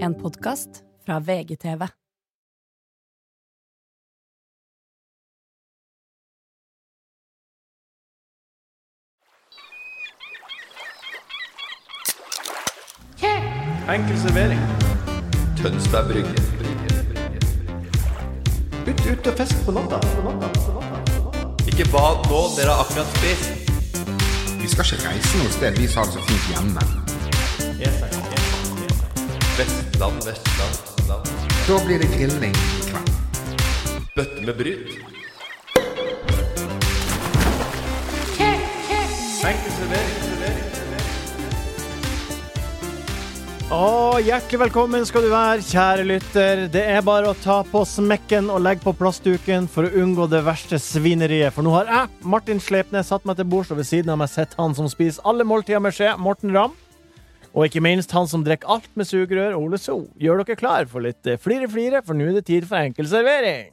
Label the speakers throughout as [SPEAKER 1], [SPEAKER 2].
[SPEAKER 1] En podkast fra VGTV.
[SPEAKER 2] Enkel servering.
[SPEAKER 3] Tønsberg Brygge.
[SPEAKER 2] Ut, ut og fest på natta.
[SPEAKER 3] Ikke bad nå, dere har akkurat spist.
[SPEAKER 4] Vi skal ikke reise noe sted, vi har det så fint hjemme.
[SPEAKER 3] Vestland, Vestland, Vestland.
[SPEAKER 4] Da blir det grilling i kveld.
[SPEAKER 3] Bøtte med bryt.
[SPEAKER 2] Enkel servering.
[SPEAKER 5] Å, hjertelig velkommen skal du være, kjære lytter. Det er bare å ta på smekken og legge på plastduken for å unngå det verste svineriet. For nå har jeg, Martin Slepnes, satt meg til bords, og ved siden av meg sitter han som spiser alle måltider med skje, Morten Ramm. Og ikke minst han som drikker alt med sugerør, Ole So. Gjør dere klar for litt eh, flire-flire, for nå er det tid for enkel servering.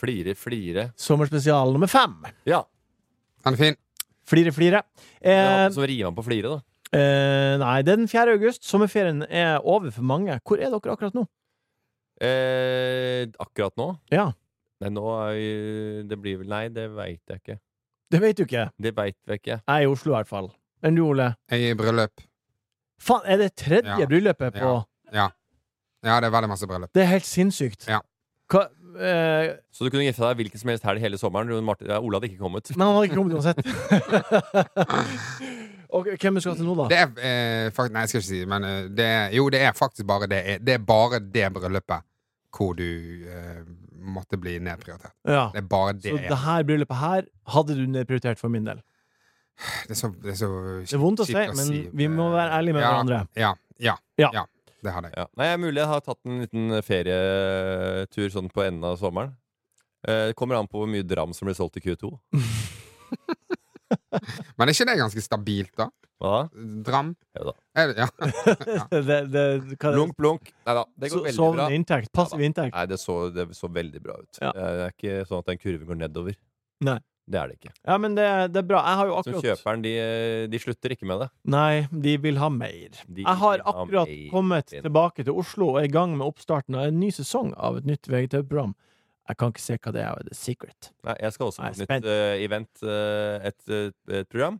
[SPEAKER 3] Flire, flire.
[SPEAKER 5] Sommerspesial nummer fem.
[SPEAKER 3] Ja.
[SPEAKER 4] Han er fin.
[SPEAKER 5] Flire-flire. Eh,
[SPEAKER 3] Som rimer på flire, da.
[SPEAKER 5] eh, nei, det er den 4. august. Sommerferien er over for mange. Hvor er dere akkurat nå?
[SPEAKER 3] Eh, akkurat nå?
[SPEAKER 5] Ja,
[SPEAKER 3] Nei, nå er vi- Det blir vel Nei, det veit jeg ikke.
[SPEAKER 5] det vet du ikke.
[SPEAKER 3] Det veit jeg ikke.
[SPEAKER 5] Jeg er i Oslo i hvert fall. Enn du, Ole?
[SPEAKER 4] Jeg er i bryllup.
[SPEAKER 5] Faen, er det tredje
[SPEAKER 4] Ja.
[SPEAKER 5] bryllupet på
[SPEAKER 4] Ja. Ja, det er veldig masse bryllup.
[SPEAKER 5] Det er helt sinnssykt.
[SPEAKER 4] Ja.
[SPEAKER 5] Hva, eh,
[SPEAKER 3] Så du kunne gifte deg hvilken som helst helg hele sommeren? men Martin, ja, Ola hadde ikke kommet.
[SPEAKER 5] men han hadde ikke kommet uansett. Og hvem du skal til nå, da?
[SPEAKER 4] Det er eh, fakt- Nei, jeg skal ikke si det, men eh, det er, Jo, det er faktisk bare det. eh, Det er bare det bryllupet hvor du eh, måtte bli nedprioritert.
[SPEAKER 5] ja.
[SPEAKER 4] Det er bare det.
[SPEAKER 5] Så det her bryllupet her hadde du nedprioritert for min del.
[SPEAKER 4] Det er så, det er så
[SPEAKER 5] Det er vondt å si,
[SPEAKER 4] kjipt
[SPEAKER 5] men
[SPEAKER 4] si,
[SPEAKER 5] vi må
[SPEAKER 4] eh,
[SPEAKER 5] være ærlige med
[SPEAKER 4] ja,
[SPEAKER 5] hverandre.
[SPEAKER 4] Ja. Ja.
[SPEAKER 5] Ja.
[SPEAKER 4] Ja. Det hadde jeg.
[SPEAKER 3] Ja. Nei, jeg er mulig jeg har tatt en liten ferietur sånn på enden av sommeren. Eh, det kommer an på hvor mye dram som blir solgt i Q2.
[SPEAKER 4] Men er ikke det ganske stabilt, da?
[SPEAKER 3] Hva da?
[SPEAKER 4] Dram?
[SPEAKER 3] Ja da.
[SPEAKER 4] Er det, ja.
[SPEAKER 5] det, det, hva,
[SPEAKER 3] Blunk, blunk. Nei da, det går
[SPEAKER 5] so-
[SPEAKER 3] veldig bra.
[SPEAKER 5] sovende inntekt. Passiv
[SPEAKER 3] Ja
[SPEAKER 5] inntekt.
[SPEAKER 3] Nei, det så, det så veldig bra ut.
[SPEAKER 5] Ja.
[SPEAKER 3] Det er ikke sånn at den kurven går nedover.
[SPEAKER 5] Nei.
[SPEAKER 3] Det er det ikke.
[SPEAKER 5] Ja, men det, det er bra. Jeg har jo
[SPEAKER 3] Så
[SPEAKER 5] akkurat
[SPEAKER 3] kjøperen, de, de slutter ikke med det.
[SPEAKER 5] Nei, de vil ha mer.
[SPEAKER 3] De
[SPEAKER 5] jeg har
[SPEAKER 3] vil ha
[SPEAKER 5] akkurat
[SPEAKER 3] mer.
[SPEAKER 5] kommet tilbake til Oslo og er i gang med oppstarten av en ny sesong av et nytt VGTV-program. Jeg kan ikke se hva det er. The Secret.
[SPEAKER 3] Nei, jeg skal også
[SPEAKER 5] Nei,
[SPEAKER 3] på et
[SPEAKER 5] spent.
[SPEAKER 3] nytt eh, event, eh, et, eh, et program.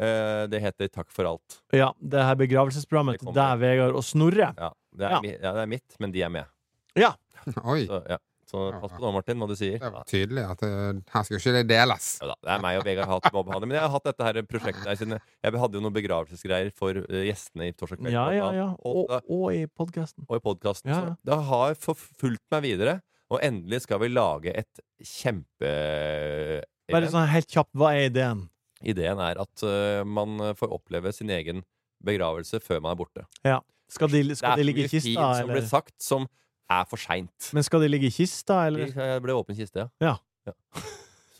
[SPEAKER 3] Eh, det heter Takk for alt.
[SPEAKER 5] Ja, det her begravelsesprogrammet
[SPEAKER 3] Det
[SPEAKER 5] til
[SPEAKER 3] kommer.
[SPEAKER 5] deg, Vegard og Snorre.
[SPEAKER 3] Ja det, er,
[SPEAKER 5] Ja.
[SPEAKER 3] mi- ja, det er mitt, men de er med.
[SPEAKER 4] Oi.
[SPEAKER 3] Så, ja. så pass på nå, Martin, hva du sier.
[SPEAKER 4] Det
[SPEAKER 3] Ja,
[SPEAKER 4] var tydelig at det, her skal jo ikke det deles.
[SPEAKER 3] da, det er meg og Vegard har hatt mobbehandling. Men jeg har hatt dette her prosjektet her siden Jeg hadde jo noen begravelsesgreier for eh, gjestene i Torsdag kveld.
[SPEAKER 5] Ja,
[SPEAKER 3] blant
[SPEAKER 5] ja,
[SPEAKER 3] annet.
[SPEAKER 5] ja.
[SPEAKER 3] Og,
[SPEAKER 5] Og, og i podkasten.
[SPEAKER 3] og i podkasten.
[SPEAKER 5] Ja, ja.
[SPEAKER 3] Det har forfulgt meg videre, og endelig skal vi lage et kjempe... eh,
[SPEAKER 5] Bare sånn helt kjapt, hva er ideen?
[SPEAKER 3] Ideen er at eh, man får oppleve sin egen begravelse før man er borte.
[SPEAKER 5] Skal de, skal de
[SPEAKER 3] det er
[SPEAKER 5] ligge i
[SPEAKER 3] fint
[SPEAKER 5] kista,
[SPEAKER 3] som ble
[SPEAKER 5] eller?
[SPEAKER 3] sagt, som er for seint.
[SPEAKER 5] Men skal de ligge i kista, eller?
[SPEAKER 3] eh, Det ble åpen kiste,
[SPEAKER 5] Ja.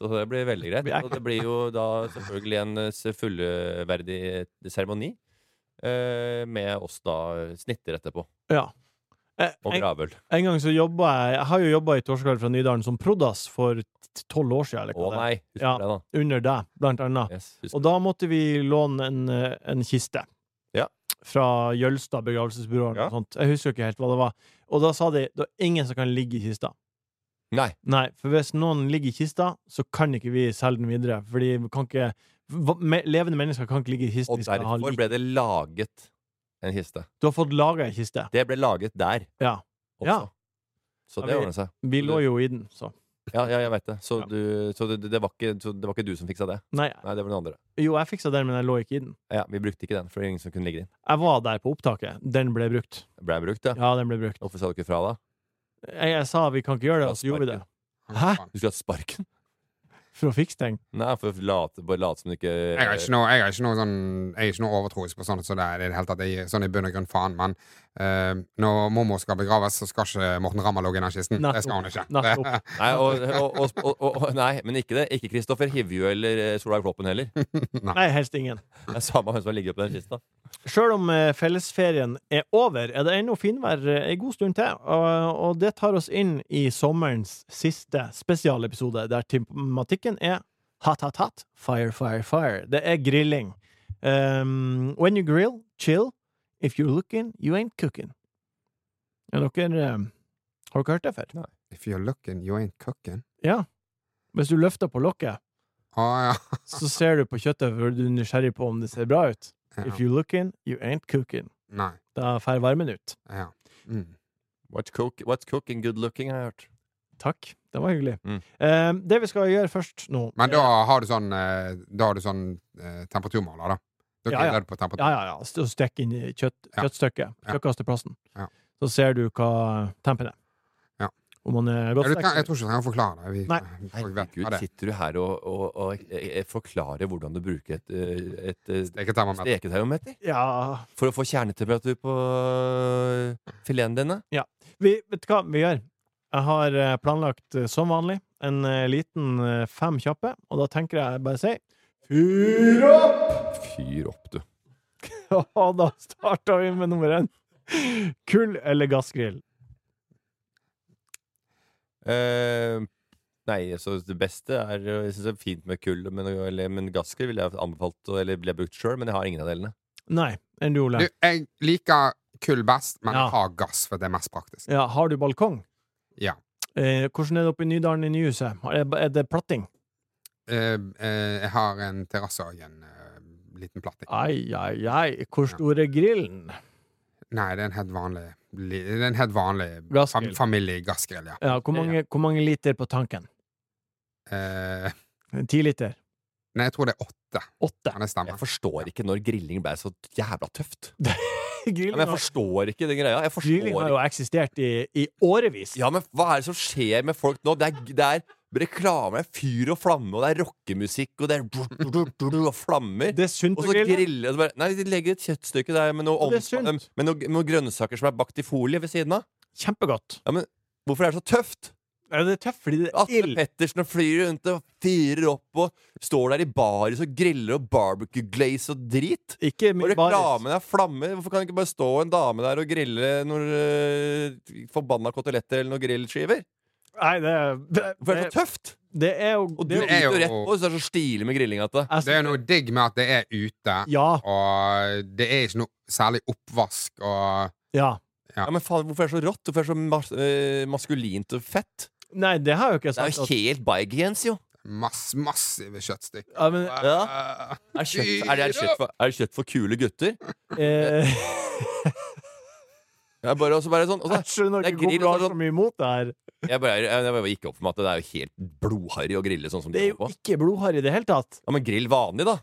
[SPEAKER 3] Så det blir veldig greit.
[SPEAKER 5] Det blir
[SPEAKER 3] Og det blir jo da selvfølgelig en eh, s- fullverdig seremoni. eh, med oss da eh, snitter etterpå.
[SPEAKER 5] Ja. Eh,
[SPEAKER 3] Og
[SPEAKER 5] En,
[SPEAKER 3] gravøl.
[SPEAKER 5] en gang så jobba jeg Jeg har jo jobba i Torskveld fra Nydalen som prodas for t- tolv år siden, eller
[SPEAKER 3] Å
[SPEAKER 5] hva det er.
[SPEAKER 3] nei! Husker
[SPEAKER 5] Ja.
[SPEAKER 3] det, da.
[SPEAKER 5] Under deg, blant annet.
[SPEAKER 3] Yes, husker
[SPEAKER 5] Og da måtte vi låne en, eh, en kiste.
[SPEAKER 3] Ja.
[SPEAKER 5] Fra Jølstad begravelsesbyrå. eller
[SPEAKER 3] Ja.
[SPEAKER 5] noe sånt. Jeg husker ikke helt hva det var. Og da sa de det er ingen som kan ligge i kista.
[SPEAKER 3] det. Nei.
[SPEAKER 5] Nei, for hvis noen ligger i kista, så kan ikke vi selge den videre. Fordi vi kan ikke hva- me, Levende mennesker kan ikke ligge i kisten.
[SPEAKER 3] Og
[SPEAKER 5] vi skal ha
[SPEAKER 3] derfor
[SPEAKER 5] lik.
[SPEAKER 3] ble det laget en kiste.
[SPEAKER 5] Du har fått laga ei kiste.
[SPEAKER 3] Det ble laget der
[SPEAKER 5] Ja.
[SPEAKER 3] også.
[SPEAKER 5] Ja.
[SPEAKER 3] Så
[SPEAKER 5] Ja,
[SPEAKER 3] det
[SPEAKER 5] vi-
[SPEAKER 3] ordnet seg.
[SPEAKER 5] Vi lå jo i den, så.
[SPEAKER 3] Ja, ja jeg veit det. Så,
[SPEAKER 5] Ja.
[SPEAKER 3] du, så, det, det var ikke, så det var ikke du som fiksa det?
[SPEAKER 5] Nei,
[SPEAKER 3] Nei, det var noen andre.
[SPEAKER 5] jo, jeg fiksa den, men jeg lå ikke i den.
[SPEAKER 3] Ja, vi brukte ikke den, for det var ingen som kunne ligge inn.
[SPEAKER 5] Jeg var der på opptaket. Den ble brukt.
[SPEAKER 3] Ble den brukt, ja?
[SPEAKER 5] Ja, den ble brukt.
[SPEAKER 3] Hvorfor sa du ikke fra, da?
[SPEAKER 5] Jeg, jeg sa vi kan ikke gjøre det, og så gjorde vi det. Hæ?
[SPEAKER 3] Du skulle hatt sparken?
[SPEAKER 5] For å fikse ting.
[SPEAKER 3] Nei, for å late, bare late som du ikke
[SPEAKER 4] Jeg har ikke noe, jeg har ikke noe, sånn, jeg er ikke noe overtroisk på sånt, så det er i det hele tatt jeg, gir sånn i bunn og grunn faen, men eh, når mormor skal begraves, så skal ikke Morten Rammer ligge i den kisten. Det skal hun ikke.
[SPEAKER 5] Nettopp.
[SPEAKER 3] Nei, og, og, og, og, og, og, nei, men ikke det. Ikke Kristoffer Hivju eller eh, Solveig Kloppen heller. Det
[SPEAKER 5] Nei, helst ingen.
[SPEAKER 3] er samme hvem som har ligget oppi den kista.
[SPEAKER 5] Sjøl om eh, fellesferien er over, er det ennå finvær eh, en god stund til. Og, og det tar oss inn i sommerens siste spesialepisode, der tematikken er hot, hot, hot, fire, fire, fire. Det er Ehm, grilling. Um, when you grill, chill. If you're looking, you ain't cooking. Ja, dere eh, Har dere hørt det før?
[SPEAKER 4] If you're looking, you ain't cooking.
[SPEAKER 5] Ja. Hvis du løfter på lokket,
[SPEAKER 4] Å ja.
[SPEAKER 5] så ser du på kjøttet for du er nysgjerrig på om det ser bra ut.
[SPEAKER 4] ja.
[SPEAKER 5] If you looking, you ain't cooking.
[SPEAKER 4] Nei.
[SPEAKER 5] Da fer varmen ut.
[SPEAKER 4] Ja. Mm.
[SPEAKER 3] What's, cook, what's cooking good looking, har jeg hørt.
[SPEAKER 5] Takk. Det var hyggelig.
[SPEAKER 3] Mm.
[SPEAKER 5] Eh, det vi skal gjøre først nå
[SPEAKER 4] Men da har du sånn, eh, da har du sånn eh, temperaturmåler, da. Du
[SPEAKER 5] Ja, ja.
[SPEAKER 4] er redd på temperatur.
[SPEAKER 5] Ja, ja, ja. St- Stekk inn i kjøtt,
[SPEAKER 4] Ja.
[SPEAKER 5] kjøttstykket.
[SPEAKER 4] Ja.
[SPEAKER 5] Kjøttkasteplassen.
[SPEAKER 4] Ja.
[SPEAKER 5] Så ser du hva tempen er.
[SPEAKER 4] Ja.
[SPEAKER 5] Om man er
[SPEAKER 4] Ja,
[SPEAKER 5] godt
[SPEAKER 4] du kan, jeg
[SPEAKER 5] stekt.
[SPEAKER 4] tror ikke jeg trenger å forklare det. Vi,
[SPEAKER 5] Nei.
[SPEAKER 4] folk vet
[SPEAKER 3] Herregud,
[SPEAKER 4] hva det. er.
[SPEAKER 3] sitter du her og, og, og eh, eh, forklarer hvordan du bruker et, eh, et eh,
[SPEAKER 4] Det er ikke termometer.
[SPEAKER 3] steketermometer
[SPEAKER 5] Ja.
[SPEAKER 3] for å få kjernetemperatur på eh, fileten din? da?
[SPEAKER 5] Vi, vet du hva vi gjør? Jeg har eh, planlagt eh, som vanlig en eh, liten eh, fem kjappe, og da tenker jeg bare si Fyr opp!
[SPEAKER 3] Fyr opp, du.
[SPEAKER 5] Og da starter vi med nummer én. Kull- eller gassgrill?
[SPEAKER 3] Eh, nei, så det beste er eh, Jeg synes det er fint med kull, men, eller, men gassgrill ville jeg anbefalt og- eller ville jeg brukt sjøl, men jeg har ingen av delene.
[SPEAKER 5] Nei. Enn du, Ole?
[SPEAKER 4] Du, jeg liker kull best, men
[SPEAKER 5] Ja.
[SPEAKER 4] jeg har gass, for det er mest praktisk.
[SPEAKER 5] Ja, har du balkong?
[SPEAKER 4] Ja.
[SPEAKER 5] Eh, hvordan er det oppe i Nydalen i Nyhuset? Har- Er er det platting?
[SPEAKER 4] Eh, eh, jeg har en terrasse og en eh, liten platting.
[SPEAKER 5] Ai, ai, ai. Hvor stor er grillen?
[SPEAKER 4] Nei, det er en helt vanlig, li- det er en helt vanlig fam,
[SPEAKER 5] Gassgrill.
[SPEAKER 4] familiegassgrill, ja.
[SPEAKER 5] Ja, hvor mange, hvor mange liter på tanken?
[SPEAKER 4] Eh,
[SPEAKER 5] Ti liter?
[SPEAKER 4] nei, jeg tror det er åtte.
[SPEAKER 5] Åtte?
[SPEAKER 4] Kan det
[SPEAKER 3] Jeg
[SPEAKER 4] stemme?
[SPEAKER 3] forstår ikke når grilling ble så jævla tøft. Ja,
[SPEAKER 5] Grilling
[SPEAKER 3] men jeg
[SPEAKER 5] har,
[SPEAKER 3] forstår ikke den greia. Jeg forstår
[SPEAKER 5] grilling har
[SPEAKER 3] ikke
[SPEAKER 5] jo eksistert i, i årevis.
[SPEAKER 3] Ja, men hva er det som skjer med folk nå? Det er, det er reklame, det er fyr og flamme, og det er rockemusikk, og det er brr, brr, brr, brr, og flammer.
[SPEAKER 5] Det er sunt
[SPEAKER 3] Og
[SPEAKER 5] å
[SPEAKER 3] så
[SPEAKER 5] grille.
[SPEAKER 3] grille og så bare, Nei, de legger et kjøttstykke der med noe,
[SPEAKER 5] Og det er
[SPEAKER 3] ovnspa-
[SPEAKER 5] sunt.
[SPEAKER 3] med noe, med noe grønnsaker som er bakt i folie ved siden av.
[SPEAKER 5] Kjempegodt.
[SPEAKER 3] Hvorfor er det så tøft?
[SPEAKER 5] Ja, det er tøft fordi det er
[SPEAKER 3] Atle
[SPEAKER 5] ild.
[SPEAKER 3] Pettersen og flyr rundt og fyrer opp og står der i baris og griller og barbecue glaze og drit.
[SPEAKER 5] Ikke
[SPEAKER 3] Og
[SPEAKER 5] mye baris.
[SPEAKER 3] reklamen er flammer. Hvorfor kan det ikke bare stå en dame der og grille noen øh, forbanna koteletter eller noen grillskiver?
[SPEAKER 5] Nei, det, er- det,
[SPEAKER 3] Hvorfor er det så tøft?
[SPEAKER 5] det er jo
[SPEAKER 3] Og du
[SPEAKER 5] det er jo-
[SPEAKER 4] er
[SPEAKER 3] gir jo
[SPEAKER 4] jo-
[SPEAKER 3] rett på, så er det så stilig med grilling at det
[SPEAKER 5] jeg-
[SPEAKER 4] Det er jo noe digg med at det er ute,
[SPEAKER 5] Ja.
[SPEAKER 4] og det er ikke noe særlig oppvask og
[SPEAKER 5] ja.
[SPEAKER 4] Ja.
[SPEAKER 3] ja, men faen, Hvorfor er det så rått? Hvorfor er det så mas øh, maskulint og fett?
[SPEAKER 5] Nei, det har jeg jo ikke
[SPEAKER 3] Det er jo
[SPEAKER 5] sagt. At,
[SPEAKER 3] helt bygans, jo.
[SPEAKER 4] mass, massive kjøttstykker.
[SPEAKER 5] ja, men, eh,
[SPEAKER 3] Ja. Er, kjøtt, er, det, er, det kjøtt for, er det kjøtt for kule gutter?
[SPEAKER 5] eh,
[SPEAKER 3] Jeg bare, og så bare sånn, og så,
[SPEAKER 5] jeg skjønner
[SPEAKER 3] det er
[SPEAKER 5] ikke hvorfor
[SPEAKER 3] grill,
[SPEAKER 5] du har
[SPEAKER 3] og sånn.
[SPEAKER 5] så mye imot det her.
[SPEAKER 3] jeg bare, jeg, jeg bare gikk opp for meg at det er jo helt blodharry å grille sånn som
[SPEAKER 5] Det
[SPEAKER 3] de
[SPEAKER 5] er
[SPEAKER 3] gjør
[SPEAKER 5] jo
[SPEAKER 3] på.
[SPEAKER 5] ikke blodharry i det hele tatt.
[SPEAKER 3] Ja, men grill vanlig, da.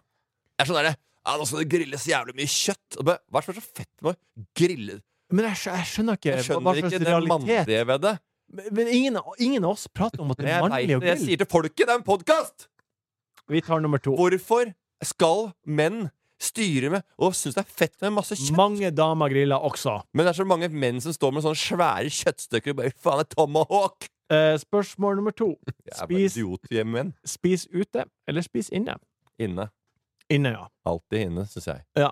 [SPEAKER 3] Jeg er sånn der, ja, Nå skal det grilles jævlig mye kjøtt. Og bare, Hva er det som er så fett med å grille
[SPEAKER 5] Men jeg, skj- jeg skjønner ikke
[SPEAKER 3] Jeg
[SPEAKER 5] hva
[SPEAKER 3] skjønner
[SPEAKER 5] slags
[SPEAKER 3] ikke det
[SPEAKER 5] realitet
[SPEAKER 3] mannlige ved det.
[SPEAKER 5] Men men ingen, ingen av oss prater om at det er
[SPEAKER 3] Men jeg, vet,
[SPEAKER 5] mannlig å
[SPEAKER 3] det. jeg
[SPEAKER 5] grille.
[SPEAKER 3] sier til folket, det er en podkast!
[SPEAKER 5] Vi tar nummer to.
[SPEAKER 3] Hvorfor skal menn styre med og synes det er fett med masse kjøtt?
[SPEAKER 5] Mange damer griller også.
[SPEAKER 3] Men det er så mange menn som står med sånne svære kjøttstykker og bare faen, det er tomahawk!
[SPEAKER 5] Eh, spørsmål nummer to. Spis.
[SPEAKER 3] Spis Idiothjemmenn.
[SPEAKER 5] Spis ute eller spis inne?
[SPEAKER 3] Inne.
[SPEAKER 5] Inne, ja.
[SPEAKER 3] Alltid inne, syns jeg.
[SPEAKER 5] Ja.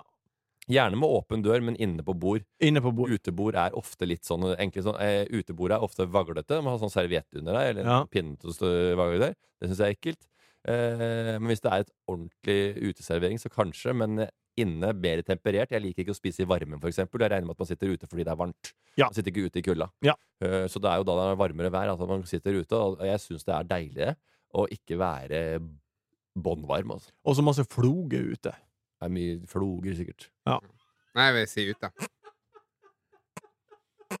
[SPEAKER 3] Gjerne med åpen dør, men inne på bord.
[SPEAKER 5] Inne på bord.
[SPEAKER 3] Utebord er ofte litt sånn, enkle sånn eh, Utebord er ofte vaglete. Man har sånn serviett under deg, eller en
[SPEAKER 5] Ja.
[SPEAKER 3] pinne til å stå vagle der. Det syns jeg er ekkelt. Eh, men hvis det er et ordentlig uteservering, så kanskje. Men eh, inne mer temperert. Jeg liker ikke å spise i varmen, f.eks. Jeg regner med at man sitter ute fordi det er varmt.
[SPEAKER 5] Ja.
[SPEAKER 3] Man sitter ikke ute i kulda.
[SPEAKER 5] Ja.
[SPEAKER 3] Eh, så det er jo da det er varmere vær at man sitter ute. Og jeg syns det er deiligere å ikke være bånn varm, altså.
[SPEAKER 5] Og så masse floge ute.
[SPEAKER 3] Det er mye floger, sikkert.
[SPEAKER 4] Nei, jeg vil si ute.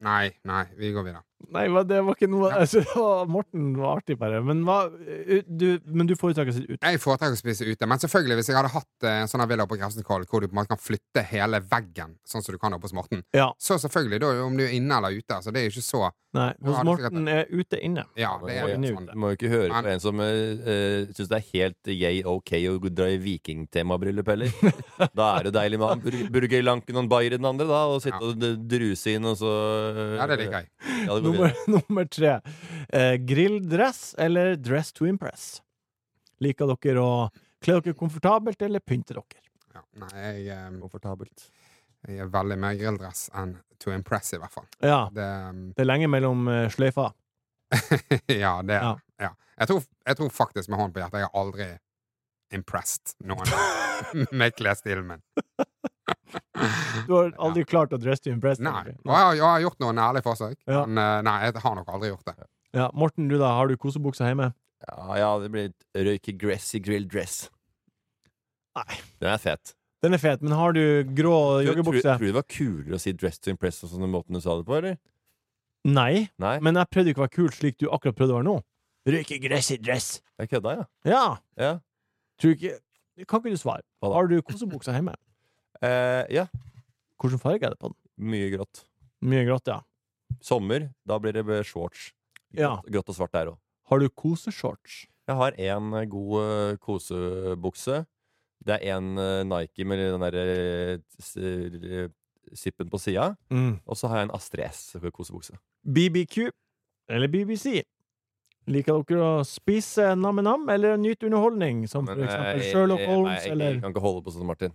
[SPEAKER 4] Nei, nei, vi går videre.
[SPEAKER 5] Nei, hva, det var ikke noe altså, det var- Morten var artig, bare. Men, hva, eh, du, men du foretrekker sitt ute.
[SPEAKER 4] Jeg foretrekker å spise ute, men selvfølgelig hvis jeg hadde hatt eh, en sånn her villa på Grefsenkollen hvor du på en måte kan flytte hele veggen, sånn som du kan oppe hos Morten,
[SPEAKER 5] Ja.
[SPEAKER 4] så selvfølgelig, da, om du er inne eller ute, så det er jo ikke så
[SPEAKER 5] Nei, hos
[SPEAKER 4] Ja, det er
[SPEAKER 5] Morten er ute inne.
[SPEAKER 4] Ja, det er jo
[SPEAKER 5] Inne
[SPEAKER 4] litt
[SPEAKER 5] ute.
[SPEAKER 4] sånn.
[SPEAKER 3] Du må jo ikke høre
[SPEAKER 4] Men-
[SPEAKER 3] på en som uh, syns det er helt yay ok å dra i vikingtemabryllup heller. da er det deilig med han bur- burgerlanken og en bayer i den andre, da, og sitte
[SPEAKER 4] Ja.
[SPEAKER 3] og d- druse inn, og så eh,
[SPEAKER 4] Ja, det liker jeg.
[SPEAKER 3] Ja, det går
[SPEAKER 5] Nummer,
[SPEAKER 3] videre.
[SPEAKER 5] nummer tre. Eh, grilldress eller dress to impress? Liker dere å kle dere komfortabelt eller pynte dere?
[SPEAKER 4] Ja. Nei, jeg, eh,
[SPEAKER 3] Komfortabelt.
[SPEAKER 4] jeg er veldig mer grilldress enn to impress, i hvert fall.
[SPEAKER 5] Ja,
[SPEAKER 4] Det, um,
[SPEAKER 5] det er lenge mellom eh, sløyfer.
[SPEAKER 4] ja, det
[SPEAKER 5] Ja.
[SPEAKER 4] ja. Jeg, tror, jeg tror faktisk med hånden på hjertet jeg har aldri impressed noen med klesstilen min.
[SPEAKER 5] Du har aldri klart å dress to impress?
[SPEAKER 4] Nei.
[SPEAKER 5] egentlig.
[SPEAKER 4] Og jeg, har- jeg har gjort noen ærlige forsøk,
[SPEAKER 5] Ja.
[SPEAKER 4] men eh, nei, jeg har nok aldri gjort det.
[SPEAKER 5] Ja, Morten, du da, har du kosebuksa hjemme?
[SPEAKER 3] Ja, ja, det blir et røyke gress i grill dress.
[SPEAKER 5] Nei.
[SPEAKER 3] Den er fet.
[SPEAKER 5] Den er fet, men har du grå
[SPEAKER 3] Tror, tror,
[SPEAKER 5] joggebukse?
[SPEAKER 3] tror du det var kulere å si dress to impress på sånn måten du sa det på, eller?
[SPEAKER 5] Nei,
[SPEAKER 3] Nei?
[SPEAKER 5] men jeg prøvde ikke å være kul slik du akkurat prøvde å være nå. Røyke gress i dress!
[SPEAKER 3] Jeg kødda, ja.
[SPEAKER 5] Ja!
[SPEAKER 3] Ja.
[SPEAKER 5] Tror ikke Kan ikke du svare?
[SPEAKER 3] Hva da?
[SPEAKER 5] Har du kosebuksa hjemme?
[SPEAKER 3] Eh, ja.
[SPEAKER 5] Hvilken farge er det på den?
[SPEAKER 3] Mye grått.
[SPEAKER 5] Mye grått, ja.
[SPEAKER 3] Sommer, da blir det b- shorts.
[SPEAKER 5] Ja.
[SPEAKER 3] Grått, grått og svart der òg.
[SPEAKER 5] Har du koseshorts?
[SPEAKER 3] Jeg har én god eh, kosebukse. Det er én Nike med den derre eh, sippen på sida.
[SPEAKER 5] Mm.
[SPEAKER 3] Og så har jeg en Astrid S-kosebukse.
[SPEAKER 5] BBQ eller BBC? Liker dere å spise nam-nam eller nyte underholdning, som for eksempel Sherlock Holmes
[SPEAKER 3] eh, jeg,
[SPEAKER 5] eller
[SPEAKER 3] jeg kan ikke holde på sånn, Martin.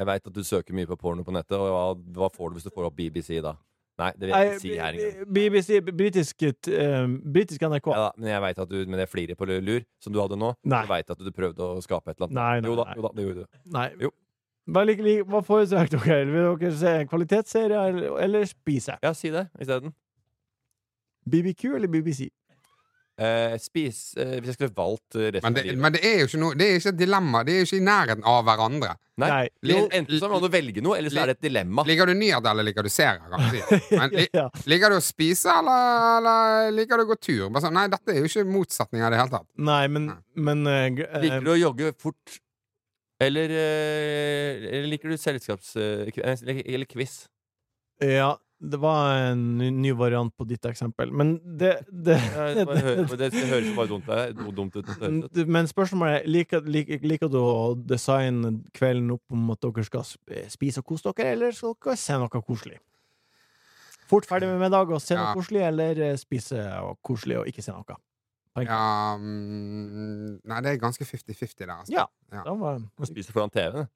[SPEAKER 3] Jeg veit at du søker mye på porno på nettet, og hva, hva får du hvis du får opp BBC da? Nei, det vil jeg ikke si her engang.
[SPEAKER 5] Nei, BBC, britisk, eh, britisk NRK.
[SPEAKER 3] Ja, da, men jeg vet at du med det fliret på lur som du hadde nå,
[SPEAKER 5] Nei.
[SPEAKER 3] jeg veit at du prøvde å skape et eller annet.
[SPEAKER 5] Nei, nei,
[SPEAKER 3] jo da,
[SPEAKER 5] nei.
[SPEAKER 3] jo da, det gjorde du.
[SPEAKER 5] Nei.
[SPEAKER 3] Jo.
[SPEAKER 5] Hva, lik, lik, hva foretrekker dere? Vil dere se kvalitetsserier eller, eller spise?
[SPEAKER 3] Ja, si det isteden.
[SPEAKER 5] BBQ eller BBC?
[SPEAKER 3] Eh, spis eh, Hvis jeg skulle valgt eh, resten
[SPEAKER 4] Men det,
[SPEAKER 3] av livet
[SPEAKER 4] men det er jo ikke noe Det er ikke et dilemma. Det er jo ikke i nærheten av hverandre.
[SPEAKER 3] Nei.
[SPEAKER 5] Nei.
[SPEAKER 3] Jo, enten så må du velge noe, eller så er det et dilemma.
[SPEAKER 4] Liker du nyheter, eller liker du serier? Kan man si. Men li,
[SPEAKER 5] Ah. Ja.
[SPEAKER 4] liker du å spise, eller, eller liker du å gå tur? Bare sånn, nei, dette er jo ikke motsetninger i det hele tatt.
[SPEAKER 5] Nei, men,
[SPEAKER 4] Nei.
[SPEAKER 5] men eh, g- eh,
[SPEAKER 3] Mm. Liker du å jogge fort? Eller, eh, eller liker du selskaps... eh, kv- eh, Eller quiz?
[SPEAKER 5] Ja, det var en ny- ny variant på ditt eksempel. Men det, det,
[SPEAKER 3] Ja, Det, bare hø- det høres jo bare dumt, ut. Det er dumt ut. det høres ut.
[SPEAKER 5] Men spørsmålet er liker, liker, liker du å designe kvelden opp om at dere skal sp- spise og kose dere, eller skal dere se noe koselig? Fort ferdig med middag og se noe
[SPEAKER 4] Ja.
[SPEAKER 5] koselig, eller eh, spise og koselig og ikke se noe? Poeng.
[SPEAKER 4] Ja, mm, nei, det er ganske 50-50 der, altså.
[SPEAKER 5] Ja.
[SPEAKER 4] Ja.
[SPEAKER 5] Da var
[SPEAKER 3] Man spiser foran TV-en.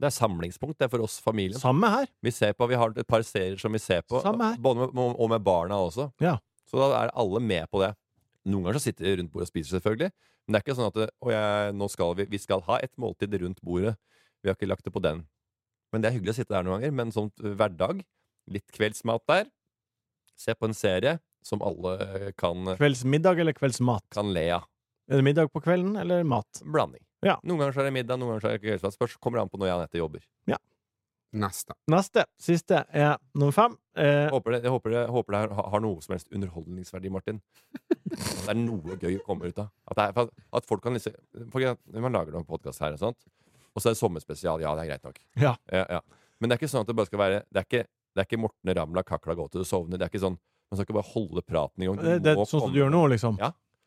[SPEAKER 3] Det er samlingspunkt det er for oss familien.
[SPEAKER 5] Samme her.
[SPEAKER 3] Vi ser på, vi har et par serier som vi ser på,
[SPEAKER 5] Samme her.
[SPEAKER 3] både med, og med barna også.
[SPEAKER 5] Ja.
[SPEAKER 3] Så da er alle med på det. Noen ganger så sitter vi rundt bordet og spiser, selvfølgelig. Men det er ikke sånn at det, «Å, jeg, nå skal vi, vi skal ha et måltid rundt bordet. Vi har ikke lagt det på den. Men det er hyggelig å sitte der noen ganger. Men sånn eh, hverdag, litt kveldsmat der, se på en serie som alle eh, kan,
[SPEAKER 5] Kveldsmiddag eller kveldsmat?
[SPEAKER 3] kan le av.
[SPEAKER 5] Er det middag på kvelden eller mat?
[SPEAKER 3] Blanding.
[SPEAKER 5] Ja.
[SPEAKER 3] Noen ganger så er det middag, noen ganger så er det kveldsmat. Spørs kommer det an på når jeg og Anette jobber.
[SPEAKER 4] Neste.
[SPEAKER 5] Neste, siste, er nummer fem. Eh,
[SPEAKER 3] Jeg håper det, jeg håper det, jeg håper det har, har noe som helst underholdningsverdi, Martin. At det er noe gøy å komme ut av. At, det er, for at- at folk kan liksom for at Når man lager noen podkast her, og sånt Og så er det sommerspesial. Ja, det er greit nok.
[SPEAKER 5] Ja.
[SPEAKER 3] Ja, ja. Men det er ikke sånn at det bare skal være Det er ikke, det er ikke Morten Ramla kakla gå til du sovner. Det er ikke sånn Man skal ikke bare holde praten i gang.
[SPEAKER 5] det, det er sånn som du gjør nå, liksom.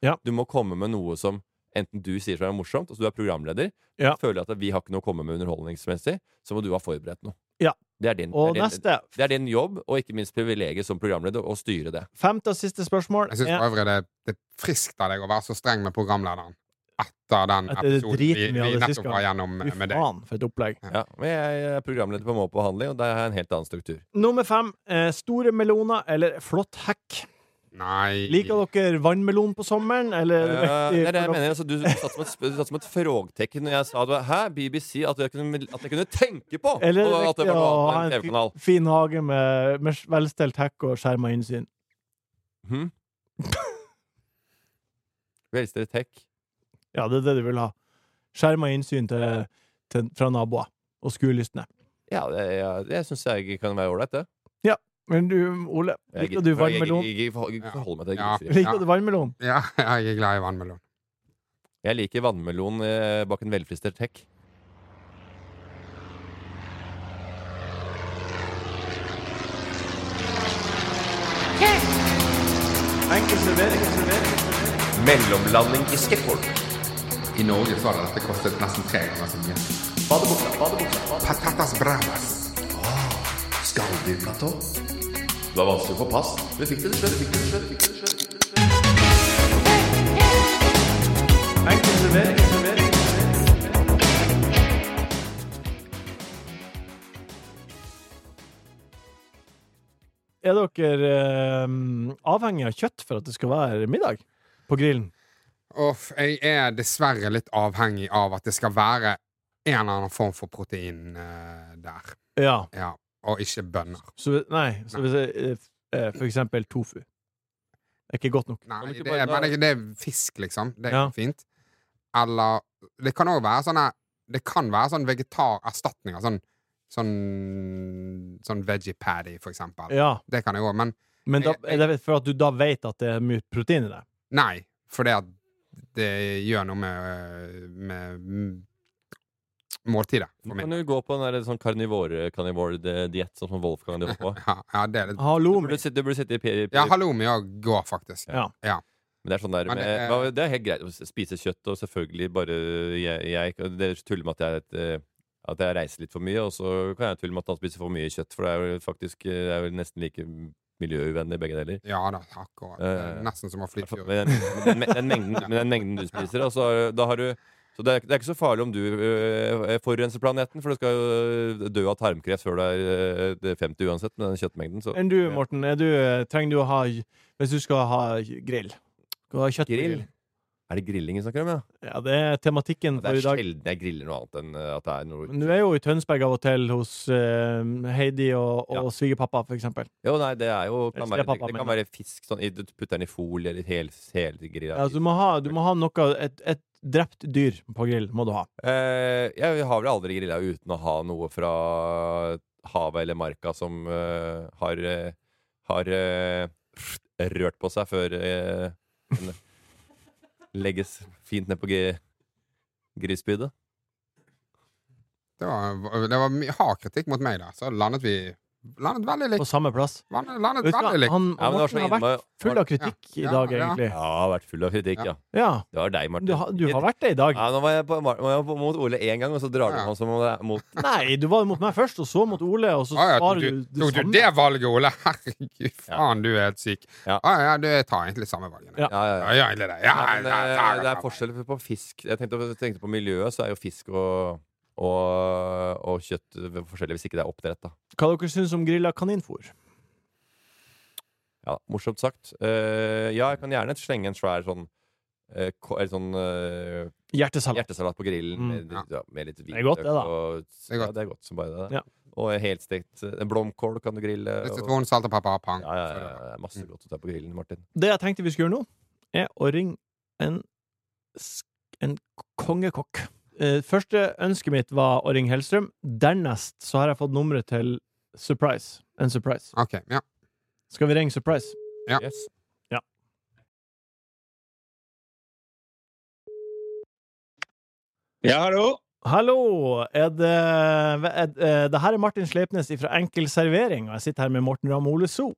[SPEAKER 3] Ja. du må komme med noe som enten du sier som er morsomt, altså du er programleder,
[SPEAKER 5] Ja.
[SPEAKER 3] føler at vi har ikke noe å komme med underholdningsmessig, så må du ha forberedt noe.
[SPEAKER 5] Ja.
[SPEAKER 3] Det er din,
[SPEAKER 5] Og
[SPEAKER 3] det er din,
[SPEAKER 5] neste,
[SPEAKER 3] det er din jobb, og ikke minst privilegiet som programleder, å styre det.
[SPEAKER 5] femte og siste spørsmål
[SPEAKER 4] Jeg syns
[SPEAKER 5] er
[SPEAKER 4] for øvrig det, det er friskt av deg å være så streng med programlederen etter den
[SPEAKER 5] Etter det
[SPEAKER 4] episoden vi,
[SPEAKER 5] driten vi
[SPEAKER 4] vi
[SPEAKER 5] hadde sist
[SPEAKER 4] nettopp
[SPEAKER 5] gang.
[SPEAKER 4] var gjennom
[SPEAKER 5] Fy
[SPEAKER 4] med med deg.
[SPEAKER 5] faen, for et opplegg.
[SPEAKER 3] Ja. men jeg er programleder på Må på behandling, og der har jeg en helt annen struktur.
[SPEAKER 5] Nummer fem. Eh, store meloner eller flott hekk?
[SPEAKER 4] Nei
[SPEAKER 5] Liker dere vannmelon på sommeren, eller
[SPEAKER 3] Eh,
[SPEAKER 5] riktig
[SPEAKER 3] det er det jeg mener. Altså, du satt som et, sp- du satt som et frågtekken når jeg sa at du- Hæ, BBC? At jeg kunne, at jeg kunne tenke på!
[SPEAKER 5] Eller
[SPEAKER 3] og at det
[SPEAKER 5] riktig
[SPEAKER 3] var
[SPEAKER 5] å
[SPEAKER 3] noe
[SPEAKER 5] ha
[SPEAKER 3] annet
[SPEAKER 5] en
[SPEAKER 3] enn en TV-kanal.
[SPEAKER 5] fi- fin hage med, med velstelt hekk og skjerma innsyn?
[SPEAKER 3] Hm? Velstret tech.
[SPEAKER 5] Ja, det er det du vil ha. Skjerma innsyn til, til, fra naboer og skuelystne.
[SPEAKER 3] Ja, det, ja, det syns jeg kan være ålreit, det.
[SPEAKER 5] Men du, Ole,
[SPEAKER 3] Jeg
[SPEAKER 5] liker
[SPEAKER 3] gidder-
[SPEAKER 5] du
[SPEAKER 3] jeg-
[SPEAKER 5] vannmelon?
[SPEAKER 3] Jeg, jeg, jeg, jeg, jeg forholder meg til
[SPEAKER 4] Ja.
[SPEAKER 3] griser.
[SPEAKER 5] Liker du vannmelon?
[SPEAKER 4] Ja, jeg er glad i vannmelon.
[SPEAKER 3] Jeg liker vannmelon eh, bak en velfristert hekk.
[SPEAKER 2] Enkel servering.
[SPEAKER 3] Mellomlanding i skateboard.
[SPEAKER 4] I Norge så hadde dette kostet nesten tre ganger så mye. Patatas bravas.
[SPEAKER 2] Skalldyrblatå.
[SPEAKER 3] Det var vanskelig å få pass. Du fikk det til slutt.
[SPEAKER 2] Enkel servering. servering.
[SPEAKER 5] Er dere eh, avhengig av kjøtt for at det skal være middag på grillen?
[SPEAKER 4] Uff, jeg er dessverre litt avhengig av at det skal være en eller annen form for protein eh, der.
[SPEAKER 5] Ja.
[SPEAKER 4] Ja. Og ikke bønner.
[SPEAKER 5] Så, nei, så hvis jeg, eh, for eksempel tofu. Er ikke godt nok. Kan
[SPEAKER 4] Nei,
[SPEAKER 5] du ikke
[SPEAKER 4] det
[SPEAKER 5] bare
[SPEAKER 4] er,
[SPEAKER 5] la-
[SPEAKER 4] men det, det er fisk, liksom. Det er
[SPEAKER 5] Ja.
[SPEAKER 4] fint. Eller Det kan òg være sånne Det kan være sånn vegetarerstatninger. Sånn, sånn, sånn veggie patty, for eksempel.
[SPEAKER 5] Ja,
[SPEAKER 4] Det kan jeg òg. Men
[SPEAKER 5] men da,
[SPEAKER 4] Jeg-
[SPEAKER 5] er det for at du da vet at det er mye protein i det?
[SPEAKER 4] nei, for det, at det gjør noe med, med mm, måltidet.
[SPEAKER 3] Du
[SPEAKER 4] For
[SPEAKER 3] kan
[SPEAKER 4] min.
[SPEAKER 3] jo gå på en der, sånn karnivore-diett, sånn som Wolfgang drev på.
[SPEAKER 4] Ja, ja, det er
[SPEAKER 5] Ah.
[SPEAKER 4] litt
[SPEAKER 3] Du
[SPEAKER 5] Halloumi.
[SPEAKER 3] burde sitte, du burde sitte i per,
[SPEAKER 4] Ja, halloumi òg går, faktisk.
[SPEAKER 5] Ja.
[SPEAKER 3] Men det er sånn der
[SPEAKER 4] Men
[SPEAKER 3] med,
[SPEAKER 4] det
[SPEAKER 3] det,
[SPEAKER 4] er-
[SPEAKER 3] er... det er helt greit å spise kjøtt, og selvfølgelig bare jeg, jeg Dere tuller med at jeg, er et, eh, at jeg reiser litt for mye, og så kan jeg tulle med at han spiser for mye kjøtt, for det er jo faktisk eh, det er jo nesten like miljøuvennlig begge deler.
[SPEAKER 4] Ja da, akkurat. Det
[SPEAKER 3] Eh,
[SPEAKER 4] er nesten som å fly tur.
[SPEAKER 3] Men den, men den, den, mengden, men den mengden du spiser, da, så har- da har du så det er, det er ikke så farlig om du øh, forurenser planeten, for du skal jo dø av tarmkreft før du er øh, det er 50 uansett med den kjøttmengden. Så
[SPEAKER 5] Enn du, Morten, er du, trenger du å ha Hvis du skal ha grill? Skal du ha kjøtt på
[SPEAKER 3] grill. Er det grilling vi snakker om, ja?
[SPEAKER 5] Ja, det er tematikken
[SPEAKER 3] Det
[SPEAKER 5] for
[SPEAKER 3] er
[SPEAKER 5] i dag.
[SPEAKER 3] sjelden jeg griller noe annet enn øh, at det er noe
[SPEAKER 5] Men Du er jo i Tønsberg av og til hos eh, Heidi og, og
[SPEAKER 3] Ja.
[SPEAKER 5] svigerpappa, for eksempel.
[SPEAKER 3] Jo, nei, det er jo kan
[SPEAKER 5] Eller
[SPEAKER 3] være, det,
[SPEAKER 5] strepappa,
[SPEAKER 3] kan
[SPEAKER 5] mener
[SPEAKER 3] være fisk sånn, i- Du putter den i folie eller hel, helgrilla.
[SPEAKER 5] Ja, altså så du, må ha, du må ha noe Et, et drept dyr på grill må du ha.
[SPEAKER 3] eh, Jeg har vel aldri grilla uten å ha noe fra havet eller marka som eh, har, eh, har eh, rørt på seg før eh, den legges fint ned på gri- grisspydet.
[SPEAKER 4] Det var, det var mye hard kritikk mot meg der, så landet vi Landet veldig
[SPEAKER 5] På
[SPEAKER 4] likt.
[SPEAKER 5] samme plass.
[SPEAKER 4] Landet, landet
[SPEAKER 5] Vet du hva,
[SPEAKER 4] veldig likt.
[SPEAKER 5] han
[SPEAKER 3] Ja, men det var så
[SPEAKER 5] Morten har vært
[SPEAKER 3] innmari-
[SPEAKER 5] full av kritikk
[SPEAKER 4] Ja.
[SPEAKER 5] i dag,
[SPEAKER 4] Ja, ja.
[SPEAKER 5] egentlig.
[SPEAKER 3] Ja, har vært full av kritikk, ja.
[SPEAKER 5] Ja,
[SPEAKER 3] Det var deg, Martin.
[SPEAKER 5] du, har- du har vært det i dag.
[SPEAKER 3] ja, nå var jeg, på, var jeg på, mot Ole én gang, og så drar du
[SPEAKER 4] Ja.
[SPEAKER 3] han som om det er mot
[SPEAKER 5] Nei, du var mot meg først, og så mot Ole, og så
[SPEAKER 3] Altså,
[SPEAKER 4] Å,
[SPEAKER 5] svarer
[SPEAKER 4] ja, tok
[SPEAKER 5] du
[SPEAKER 4] du,
[SPEAKER 5] det
[SPEAKER 4] tok du
[SPEAKER 5] samme.
[SPEAKER 4] det valget, Ole? Herregud, faen, du er helt syk.
[SPEAKER 3] Ja.
[SPEAKER 4] Ja, ja, du jeg tar egentlig samme valget.
[SPEAKER 5] Ja.
[SPEAKER 4] Ja,
[SPEAKER 3] ja, ja, ja.
[SPEAKER 4] ja, egentlig det. Ja,
[SPEAKER 3] Nei, men,
[SPEAKER 4] ja, ja,
[SPEAKER 3] eh,
[SPEAKER 4] ja,
[SPEAKER 3] det er
[SPEAKER 4] ja.
[SPEAKER 3] forskjell på fisk Jeg tenkte, jeg tenkte på miljøet, så er jo fisk og, og, og kjøtt eh, forskjellig hvis ikke det er oppdrett. da
[SPEAKER 5] Hva dere syns om grilla kaninfôr?
[SPEAKER 3] ja, Morsomt sagt. Eh, ja, jeg kan gjerne slenge en svær sånn eh, ko- eller sånn eh,
[SPEAKER 5] Hjertesalat.
[SPEAKER 3] hjertesalat på grillen
[SPEAKER 5] Mm.
[SPEAKER 3] med,
[SPEAKER 4] Ja.
[SPEAKER 3] ja, med litt
[SPEAKER 5] er godt, det, da.
[SPEAKER 3] og-
[SPEAKER 4] er godt.
[SPEAKER 3] Ja, det er godt som bare det.
[SPEAKER 5] Ja.
[SPEAKER 3] Og helstekt eh, en blomkål kan du grille.
[SPEAKER 4] Litt
[SPEAKER 3] Og,
[SPEAKER 4] sitron, Mm. salt og pepper, pang.
[SPEAKER 3] ja, ja, ja, det er masse godt å ta på grillen, Martin.
[SPEAKER 5] Det jeg tenkte vi skulle gjøre nå, er å ringe en, sk- en kongekokk. Eh, Første ønsket mitt var å ringe Hellstrøm. Dernest så har jeg fått nummeret til Surprise. En surprise.
[SPEAKER 4] OK. Ja.
[SPEAKER 5] Skal vi ringe Surprise?
[SPEAKER 4] Ja.
[SPEAKER 3] Yes.
[SPEAKER 5] Ja. Hallo! Er det, er, er, det her er Martin Sleipnes fra Enkel servering, og jeg sitter her med Morten Ramm Ole So.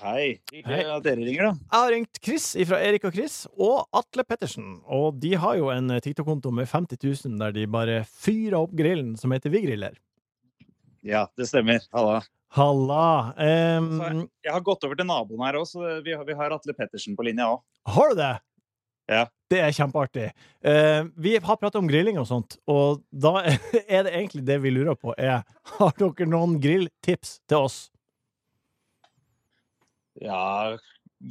[SPEAKER 6] Hei.
[SPEAKER 5] Hei.
[SPEAKER 6] Hyggelig at dere ringer, da.
[SPEAKER 5] Jeg har ringt Chris fra Erik og Chris og Atle Pettersen. Og de har jo en TikTok-konto med 50 000 der de bare fyrer opp grillen som heter Vi griller.
[SPEAKER 6] Ja, det stemmer. Halla.
[SPEAKER 5] Halla! ehm, Em,
[SPEAKER 6] Jeg har gått over til naboen her òg, så vi har, vi har Atle Pettersen på linja òg.
[SPEAKER 5] har du det?
[SPEAKER 6] Ja.
[SPEAKER 5] Det er kjempeartig. Eh, vi har pratet om grilling og sånt, og da er det egentlig det vi lurer på, er Har dere noen grilltips til oss?
[SPEAKER 6] Ja,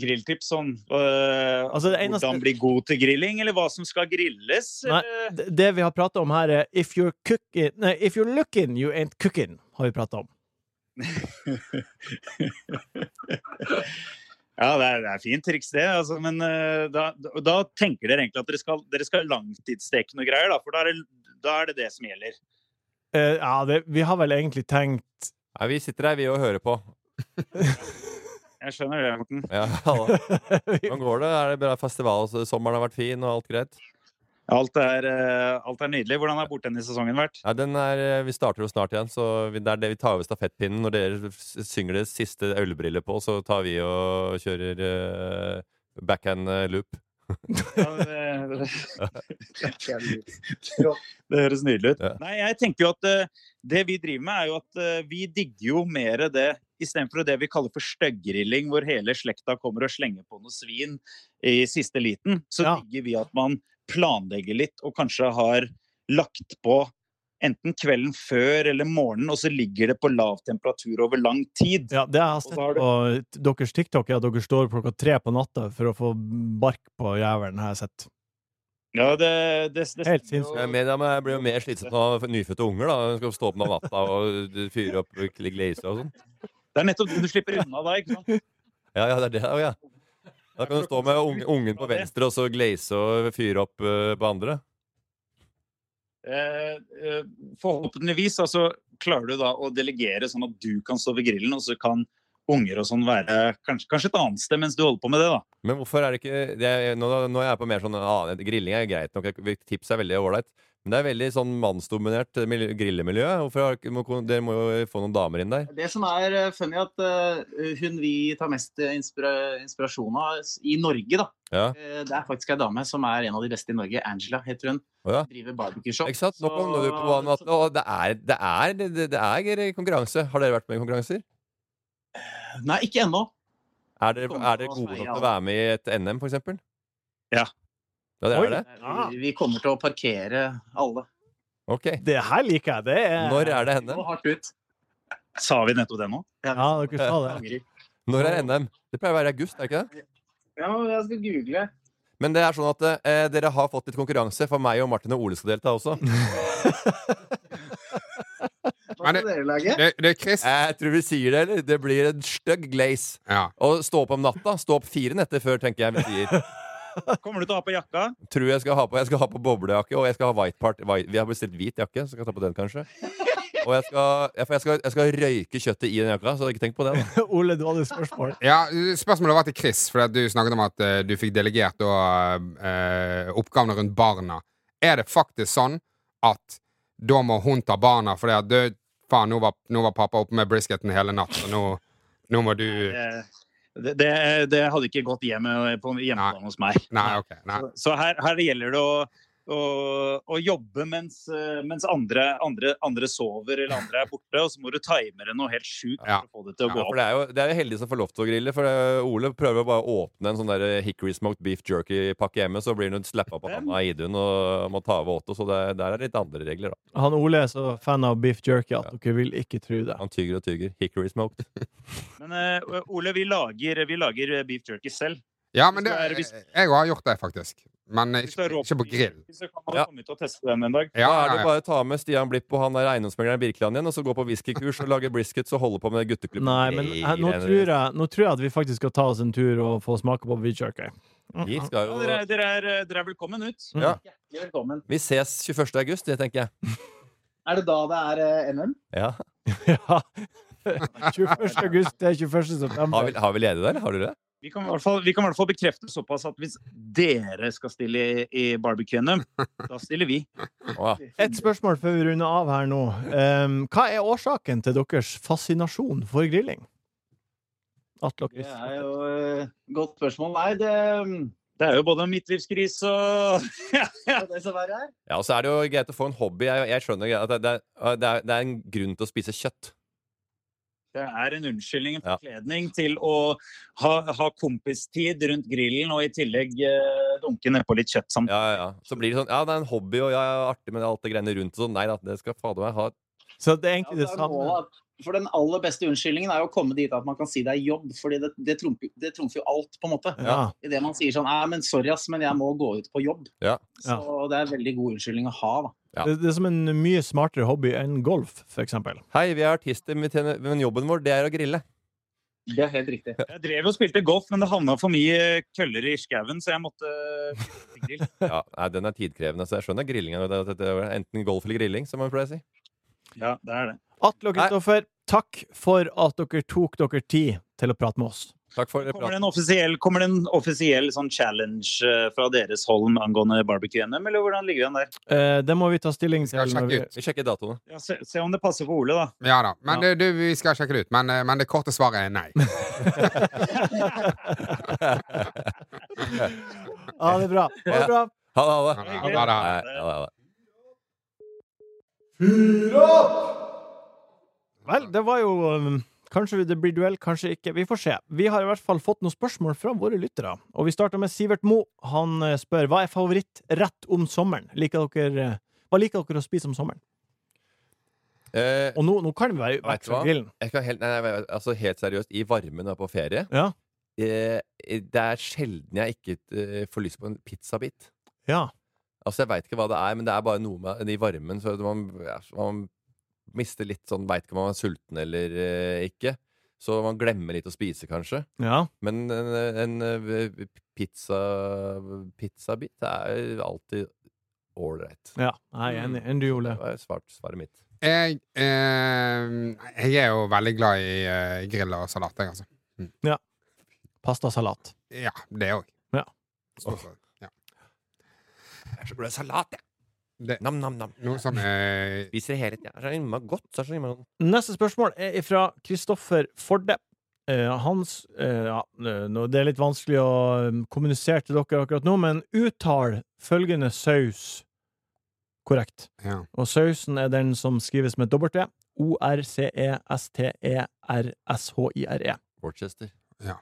[SPEAKER 6] grilltips sånn. øh,
[SPEAKER 5] Altså, det eneste-
[SPEAKER 6] Hvordan bli god til grilling, eller hva som skal grilles.
[SPEAKER 5] Nei.
[SPEAKER 6] eller-
[SPEAKER 5] D- Det vi har pratet om her, er If you're cooking Nei, if you're looking, you ain't cooking, har vi pratet om.
[SPEAKER 6] Ja, det er, det er fint triks, det. Altså, men øh, da, da tenker dere egentlig at dere skal, dere skal langtidssteke noe greier, da. For da er, det, da er det det som gjelder.
[SPEAKER 5] Eh, ja, det, vi har vel egentlig tenkt
[SPEAKER 3] Nei, vi sitter her, vi, og hører på.
[SPEAKER 6] Jeg skjønner det, Morten.
[SPEAKER 3] Ja, Hvordan går det? Er det bra festival? Sommeren har vært fin, og alt greit?
[SPEAKER 6] Alt er, øh, alt er nydelig. Hvordan har bortendissesongen vært?
[SPEAKER 3] Ja, den er, eh, vi starter jo snart igjen, så vi, det er det vi tar over stafettpinnen. Når dere s- synger det siste ølbriller på, så tar vi og kjører eh, backhand eh, loop.
[SPEAKER 6] Ja, det, det høres nydelig ut.
[SPEAKER 3] Ja.
[SPEAKER 6] Nei, jeg tenker jo at eh, det vi driver med, er jo at eh, vi digger jo mer det istedenfor det vi kaller for støgggrilling, hvor hele slekta kommer og slenger på noe svin i siste liten. Så
[SPEAKER 5] Ja.
[SPEAKER 6] digger vi at man planlegger litt og kanskje har lagt på enten kvelden før eller morgenen, og så ligger det på lav temperatur over lang tid.
[SPEAKER 5] Ja, det jeg har sett
[SPEAKER 6] så har du-
[SPEAKER 5] på t- deres TikTok, er at dere står klokka tre på natta for å få bark på jævelen, har jeg sett.
[SPEAKER 6] Ja, det, det, det
[SPEAKER 5] Helt
[SPEAKER 6] stemmer jo.
[SPEAKER 5] sinnssykt.
[SPEAKER 3] Jeg, er mer- ja, men jeg blir jo mer slitsomt av nyfødte unger. da Skal stå opp om natta og fyre opp glazer og sånn.
[SPEAKER 6] Det er nettopp det du slipper unna da, ikke sant?
[SPEAKER 3] Ja, ja, det er det. da, Ja. Da kan du stå med ung- ungen på venstre og så glaze og fyre opp eh, på andre.
[SPEAKER 6] Eh, eh, forhåpentligvis altså, klarer du da å delegere sånn at du kan stå ved grillen, og så kan unger og sånn være kanskje, kanskje et annet sted mens du holder på med det, da.
[SPEAKER 3] Men hvorfor er det ikke eh, det er, nå, nå er jeg på mer sånn ah, Grilling er greit nok. jeg- Tips er veldig ålreit. Men det er veldig sånn mannsdominert eh, miljø- grillemiljø. Hvorfor har, ikke- må, dere må jo få noen damer inn der.
[SPEAKER 7] Det som er eh, funny, at eh, hun vi tar mest eh, inspira inspirasjon av s- i Norge, da
[SPEAKER 3] Ja.
[SPEAKER 7] eh, Det er faktisk ei dame som er en av de beste i Norge. Angela heter hun.
[SPEAKER 3] Å ja.
[SPEAKER 7] Driver barbecueshop.
[SPEAKER 3] Ikke sant? Nå kom du på banen at å, det, er, det, er, det, det er konkurranse. Har dere vært med i konkurranser?
[SPEAKER 7] Nei, ikke ennå.
[SPEAKER 3] Er dere,
[SPEAKER 7] Kommer
[SPEAKER 3] er
[SPEAKER 7] til
[SPEAKER 3] dere
[SPEAKER 7] å
[SPEAKER 3] gode nok
[SPEAKER 7] smeie
[SPEAKER 3] til å
[SPEAKER 7] alle.
[SPEAKER 3] være med i et NM, for eksempel?
[SPEAKER 6] Ja.
[SPEAKER 3] Ja, dere
[SPEAKER 5] Oi.
[SPEAKER 3] er det?
[SPEAKER 5] Ah.
[SPEAKER 7] Vi, vi kommer til å parkere alle.
[SPEAKER 3] Ok.
[SPEAKER 5] Det her liker jeg. Det er
[SPEAKER 3] Når er det
[SPEAKER 7] Det
[SPEAKER 3] NM?
[SPEAKER 7] går hardt ut.
[SPEAKER 6] Sa vi nettopp det nå?
[SPEAKER 5] Ja, dere sa det.
[SPEAKER 7] Angrer.
[SPEAKER 3] Når er NM? Det pleier å være i august, er det ikke det?
[SPEAKER 7] Ja, jeg skal google.
[SPEAKER 3] Men det er sånn at eh, dere har fått litt konkurranse, for meg og Martin og Ole skal delta også.
[SPEAKER 7] Hva skal dere lage?
[SPEAKER 4] Det, det er Chris.
[SPEAKER 3] Jeg tror vi sier det, eller? Det blir en stygg glaze.
[SPEAKER 4] Ja.
[SPEAKER 3] Og stå opp om natta. Stå opp fire netter før, tenker jeg vi sier.
[SPEAKER 6] Kommer du til å ha på jakka?
[SPEAKER 3] Tror jeg skal ha på Jeg skal ha på boblejakke, og jeg skal ha white part white, Vi har bestilt hvit jakke, så jeg kan ta på den, kanskje. Og jeg skal, ja, for jeg skal, jeg skal røyke kjøttet i den jakka, så ikke tenk på det. da
[SPEAKER 5] Ole, du hadde et spørsmål.
[SPEAKER 4] Ja, Spørsmålet var til Chris, for at du snakket om at eh, du fikk delegert da, eh, oppgavene rundt barna. Er det faktisk sånn at da må hun ta barna fordi at du, faen, nå var, nå var pappa oppe med brisketen hele natt, og nå, nå må du
[SPEAKER 6] Eh, Det, det, det hadde ikke gått hjem på hjemmebane hos meg.
[SPEAKER 4] Nei, OK. Nei.
[SPEAKER 6] Så- Så her, her gjelder det å, å, å jobbe mens, eh, mens andre, andre, andre sover eller andre er borte, og så må du time det noe helt sjukt
[SPEAKER 4] Ja.
[SPEAKER 6] for å få det til å
[SPEAKER 4] Ja,
[SPEAKER 6] gå
[SPEAKER 3] For
[SPEAKER 6] opp.
[SPEAKER 3] det er jo, det er jo heldige som får lov til å grille. For eh, Ole prøver bare å åpne en sånn der hickory smoked beef jerky-pakke hjemme, så blir hun slappa på handa av Idun og må ta over Otto. Så det, der er litt andre regler, da.
[SPEAKER 5] Han Ole er så fan av beef jerky at dere vil ikke tro det.
[SPEAKER 3] Han tyger og tyger. Hickory smoked.
[SPEAKER 6] Men eh, Ole, vi lager, vi lager beef jerky selv.
[SPEAKER 4] Ja, men det,
[SPEAKER 6] Hvis du er- hvis-
[SPEAKER 4] jeg har gjort det, faktisk. Men eh,
[SPEAKER 6] Hvis du er
[SPEAKER 4] ikke,
[SPEAKER 6] rå
[SPEAKER 4] ikke på
[SPEAKER 6] beef
[SPEAKER 4] grill.
[SPEAKER 6] jerky, Så kan man
[SPEAKER 3] Ja.
[SPEAKER 6] komme ut og teste den en dag.
[SPEAKER 4] Ja,
[SPEAKER 3] da er
[SPEAKER 4] ja,
[SPEAKER 3] det
[SPEAKER 4] ja.
[SPEAKER 3] bare å ta med Stian Blipp og han der eiendomsmegleren Birkeland igjen, og så gå på whiskykurs og lage briskets og holde på med gutteklubben.
[SPEAKER 5] Nei, men eh, nå tror, jeg, nå tror jeg at vi faktisk skal ta oss en tur og få smake på beef jerky.
[SPEAKER 3] Vi skal
[SPEAKER 6] Ja,
[SPEAKER 3] jo
[SPEAKER 6] dere, er- dere, er, eh, dere er velkommen ut.
[SPEAKER 3] Ja.
[SPEAKER 7] Hjertelig velkommen.
[SPEAKER 3] Vi ses 21. august, det tenker jeg.
[SPEAKER 7] Er det da det er eh, NM?
[SPEAKER 3] Ja.
[SPEAKER 5] Ja. 21. august til 21.
[SPEAKER 3] Har
[SPEAKER 5] september.
[SPEAKER 3] vi, har vi ledige der? Har du det?
[SPEAKER 6] Vi kan, i hvert fall, vi kan i hvert fall bekrefte såpass at hvis dere skal stille i, i barbecue NM, da stiller vi.
[SPEAKER 3] Å, ja.
[SPEAKER 5] Et spørsmål før vi runder av her nå. Em, hva er årsaken til deres fascinasjon for grilling? Atle og
[SPEAKER 7] Det
[SPEAKER 5] Chris.
[SPEAKER 7] er jo eh, godt spørsmål. Nei, det,
[SPEAKER 6] Det er jo både en midtlivskris og
[SPEAKER 7] det er det som verre er.
[SPEAKER 3] ja, og så er det jo greit å få en hobby. Jeg, jeg skjønner at det, det, det, er, det er en grunn til å spise kjøtt.
[SPEAKER 6] Det er en unnskyldning, en
[SPEAKER 3] Ja.
[SPEAKER 6] forkledning til å ha, ha kompistid rundt grillen og i tillegg eh, dunke nedpå litt kjøtt sammen.
[SPEAKER 3] Ja, ja, ja. Så blir det sånn Ja, det er en hobby, og ja, ja, artig med alt det greiene rundt og sånn. Nei da, det skal fader meg ha
[SPEAKER 5] Så det er
[SPEAKER 7] Ja,
[SPEAKER 5] egentlig
[SPEAKER 7] det
[SPEAKER 5] det
[SPEAKER 7] er
[SPEAKER 5] samme.
[SPEAKER 7] målet at- For den aller beste unnskyldningen er jo å komme dit at man kan si det er jobb, fordi det, det, trumfer, jo- det trumfer jo alt, på en måte.
[SPEAKER 5] Ja.
[SPEAKER 7] I det man sier sånn Nei, men sorry, ass, men jeg må gå ut på jobb.
[SPEAKER 3] Ja.
[SPEAKER 5] Ja.
[SPEAKER 7] Så det er en veldig god unnskyldning å ha, da.
[SPEAKER 3] Ja.
[SPEAKER 5] Det, det er som en mye smartere hobby enn golf, for eksempel.
[SPEAKER 3] Hei, vi er artister, men vi tjener- men jobben vår, det er å grille.
[SPEAKER 7] Det er helt riktig.
[SPEAKER 6] Jeg drev og spilte golf, men det havna for mye køller i skauen, så jeg måtte flytte til grill.
[SPEAKER 3] Ja, nei, Den er tidkrevende, så jeg skjønner grillinga. det- det- det er Enten golf eller grilling, som man pleier å si.
[SPEAKER 6] Ja, det er det.
[SPEAKER 5] Atle og
[SPEAKER 3] Nei.
[SPEAKER 5] Kristoffer, takk for at dere tok dere tid til å prate med oss.
[SPEAKER 3] Takk for
[SPEAKER 6] Kommer
[SPEAKER 3] praten.
[SPEAKER 6] det en offisiell, kommer det en offisiell sånn challenge eh, fra deres hold angående barbecue NM, eller hvordan ligger den der?
[SPEAKER 5] Eh, det må vi ta stilling
[SPEAKER 4] Skal
[SPEAKER 5] til. når
[SPEAKER 4] sjekke
[SPEAKER 5] vi-
[SPEAKER 4] ut.
[SPEAKER 3] Vi sjekker datoene.
[SPEAKER 6] Ja, se, se om det passer for Ole, da.
[SPEAKER 4] Ja da. Men det, du, vi skal sjekke det ut. Men, eh, men det korte svaret er nei.
[SPEAKER 5] Ja, det er bra. Ha det
[SPEAKER 3] Ja.
[SPEAKER 5] bra.
[SPEAKER 3] Ha det, ha det.
[SPEAKER 4] Ja, da, da.
[SPEAKER 3] Nei, ja, da, da.
[SPEAKER 5] Vel, det var jo um, Kanskje det blir duell, kanskje ikke. Vi får se. Vi har i hvert fall fått noen spørsmål fra våre lyttere. Og vi starter med Sivert Mo. Han eh, spør hva er favorittrett om sommeren. Liker dere, eh, hva liker dere å spise om sommeren?
[SPEAKER 3] Eh,
[SPEAKER 5] Og nå, nå kan vi være
[SPEAKER 3] Vet
[SPEAKER 5] vekk
[SPEAKER 3] du
[SPEAKER 5] fra
[SPEAKER 3] hva?
[SPEAKER 5] grillen.
[SPEAKER 3] jeg skal helt, nei, nei, altså helt seriøst, i varmen og på ferie
[SPEAKER 5] Ja.
[SPEAKER 3] eh, Det er sjelden jeg ikke eh, får lyst på en pizzabit.
[SPEAKER 5] Ja.
[SPEAKER 3] Altså, jeg veit ikke hva det er, men det er bare noe med i varmen. Så at man, ja, så man mister litt sånn Veit ikke om man er sulten eller eh, ikke. Så man glemmer litt å spise, kanskje.
[SPEAKER 5] Ja.
[SPEAKER 3] Men en, en eh, pizza pizzabit er alltid ålreit.
[SPEAKER 5] ja. Jeg er enig. Enn du,
[SPEAKER 3] Det
[SPEAKER 5] Ole?
[SPEAKER 3] var svart, svaret mitt.
[SPEAKER 4] Jeg, eh, jeg er jo veldig glad i eh, grill og salat, jeg, altså.
[SPEAKER 5] Pastasalat.
[SPEAKER 4] Ja, det òg.
[SPEAKER 5] Ja.
[SPEAKER 3] Jeg er så glad i salat, jeg.
[SPEAKER 4] Det-
[SPEAKER 3] Nam-nam-nam.
[SPEAKER 4] Noe sånn eh,
[SPEAKER 3] Spiser det hele tiden. Det er så innmari godt. Så er det så innmari... sånn
[SPEAKER 5] Neste spørsmål er fra Kristoffer Forde. Eh, hans eh, ja, nå- Det er litt vanskelig å eh, kommunisere til dere akkurat nå, men uttal følgende saus korrekt.
[SPEAKER 4] ja.
[SPEAKER 5] Og sausen er den som skrives med E. W. E O-R-C-E-S-T-E-R-S-H-I-R-E.
[SPEAKER 3] Worcester.
[SPEAKER 5] E.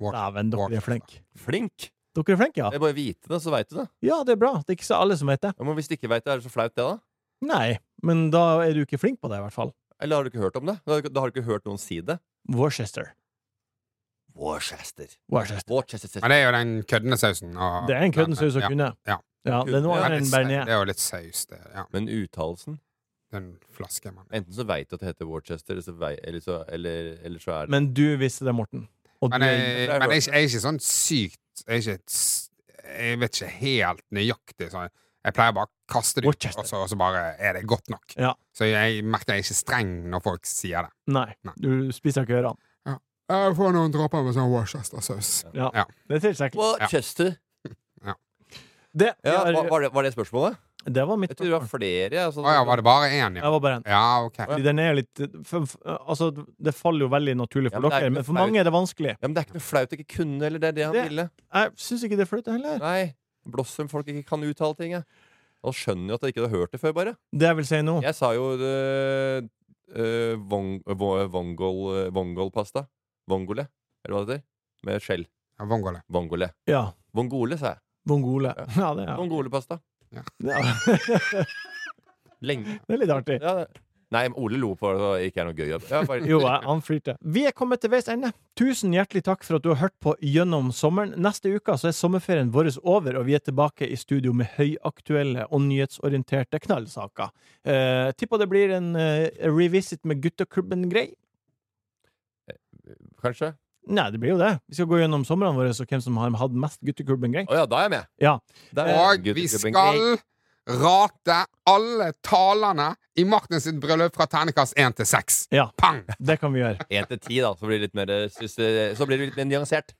[SPEAKER 5] Dæven, dere er flinke.
[SPEAKER 3] Flink!
[SPEAKER 5] Dere er flinke,
[SPEAKER 3] Det
[SPEAKER 5] ja.
[SPEAKER 3] er bare å vite det, så veit du det.
[SPEAKER 5] Ja, det er bra. Det er ikke så alle som vet det.
[SPEAKER 3] Ja, Men hvis du ikke veit det, er det så flaut, det, da?
[SPEAKER 5] Nei, men da er du ikke flink på det, i hvert fall.
[SPEAKER 3] Eller har du ikke hørt om det? Da har du ikke- da har du ikke hørt noen si det?
[SPEAKER 5] Worcester.
[SPEAKER 3] Worcester.
[SPEAKER 5] Worcester.
[SPEAKER 3] Worcester.
[SPEAKER 4] Men det er jo den køddende sausen. og-
[SPEAKER 5] Det er en kødden saus å
[SPEAKER 4] Ja,
[SPEAKER 5] kunne.
[SPEAKER 4] ja.
[SPEAKER 5] ja. Det er noe
[SPEAKER 4] Det er
[SPEAKER 5] annet
[SPEAKER 4] litt
[SPEAKER 5] enn
[SPEAKER 4] sau- det
[SPEAKER 5] bearnés.
[SPEAKER 4] er jo litt saus, det. Ja.
[SPEAKER 3] Men uttalelsen
[SPEAKER 4] Den flasken, man.
[SPEAKER 3] Enten så veit du at det heter Worcester, eller så, vei, eller så, eller, eller så er det
[SPEAKER 5] Men du visste det, Morten. Og
[SPEAKER 4] Men
[SPEAKER 5] du
[SPEAKER 4] jeg,
[SPEAKER 5] er-
[SPEAKER 4] men jeg, er ikke- jeg er ikke sånn sykt Jeg, er ikke, et s- jeg vet ikke helt nøyaktig. Sånn. Jeg pleier bare å kaste det ut,
[SPEAKER 5] Worcester.
[SPEAKER 4] og så, og så bare er det godt nok.
[SPEAKER 5] Ja.
[SPEAKER 4] Så jeg merker jeg er ikke streng når folk sier det.
[SPEAKER 5] Nei,
[SPEAKER 4] Nei.
[SPEAKER 5] du spiser ikke ørene.
[SPEAKER 4] Jeg får noen dråper med sånn Worcester-saus.
[SPEAKER 5] Ja.
[SPEAKER 4] Ja.
[SPEAKER 5] Det er tilstrekkelig.
[SPEAKER 3] Worcester!
[SPEAKER 5] Det,
[SPEAKER 3] Ja,
[SPEAKER 5] var-
[SPEAKER 3] var, var, det, var det spørsmålet?
[SPEAKER 5] det var mitt
[SPEAKER 3] Jeg tror det var
[SPEAKER 5] spørsmål.
[SPEAKER 3] flere. ja, sånn-
[SPEAKER 4] Å ja, var det bare én,
[SPEAKER 5] Det
[SPEAKER 4] ja?
[SPEAKER 5] var bare en.
[SPEAKER 4] Ja, OK.
[SPEAKER 5] Fordi Den er jo litt for, for, Altså, det faller jo veldig naturlig for
[SPEAKER 3] Ja, men det er
[SPEAKER 5] dere,
[SPEAKER 3] ikke
[SPEAKER 5] men for
[SPEAKER 3] flaut.
[SPEAKER 5] mange er det vanskelig.
[SPEAKER 3] ja, men det er ikke noe flaut å ikke kunne, eller det er det han
[SPEAKER 5] Det-
[SPEAKER 3] ville.
[SPEAKER 5] Jeg syns ikke det er flaut, det heller.
[SPEAKER 3] Nei, Blåsum folk ikke kan uttale ting. jeg. Og skjønner jo at jeg ikke har hørt det før, bare.
[SPEAKER 5] Det jeg vil si nå
[SPEAKER 3] Jeg sa jo øh, øh, vong- vo- vongol- eh, vongolpasta. Vongole, eller hva det heter. Med skjell.
[SPEAKER 4] Ja, Vongole.
[SPEAKER 3] Vongole.
[SPEAKER 5] Ja.
[SPEAKER 3] Vongole, sa jeg.
[SPEAKER 5] Vongole.
[SPEAKER 3] Ja.
[SPEAKER 5] Ja, det er,
[SPEAKER 3] Vongolepasta.
[SPEAKER 5] ja.
[SPEAKER 3] Lenge.
[SPEAKER 5] det er litt artig.
[SPEAKER 3] Ja, det. Nei, men Ole lo på det, og ikke er noe gøy. Ja, bare...
[SPEAKER 5] Jo, jeg- han flirte. Vi er kommet til veis ende. Tusen hjertelig takk for at du har hørt på gjennom sommeren. Neste uke så er sommerferien vår over, og vi er tilbake i studio med høyaktuelle og nyhetsorienterte knallsaker. Eh, tipper det blir en eh, revisit med gutteklubben-grei.
[SPEAKER 3] Kanskje?
[SPEAKER 5] Nei, det blir jo det. Vi skal gå gjennom somrene våre og hvem som har hatt mest gutteklubben-grei.
[SPEAKER 3] Å ja, da er jeg med.
[SPEAKER 5] Ja.
[SPEAKER 3] Da er jeg
[SPEAKER 4] Og
[SPEAKER 3] med.
[SPEAKER 4] vi
[SPEAKER 3] Gutteklubben.
[SPEAKER 4] skal rate alle talene i Martin sitt bryllup fra ternekast 1 til 6.
[SPEAKER 5] Ja.
[SPEAKER 4] Pang!
[SPEAKER 5] Det kan vi gjøre.
[SPEAKER 3] Én til ti, da. Så blir det litt mer, synes, det- så blir det litt mer nyansert.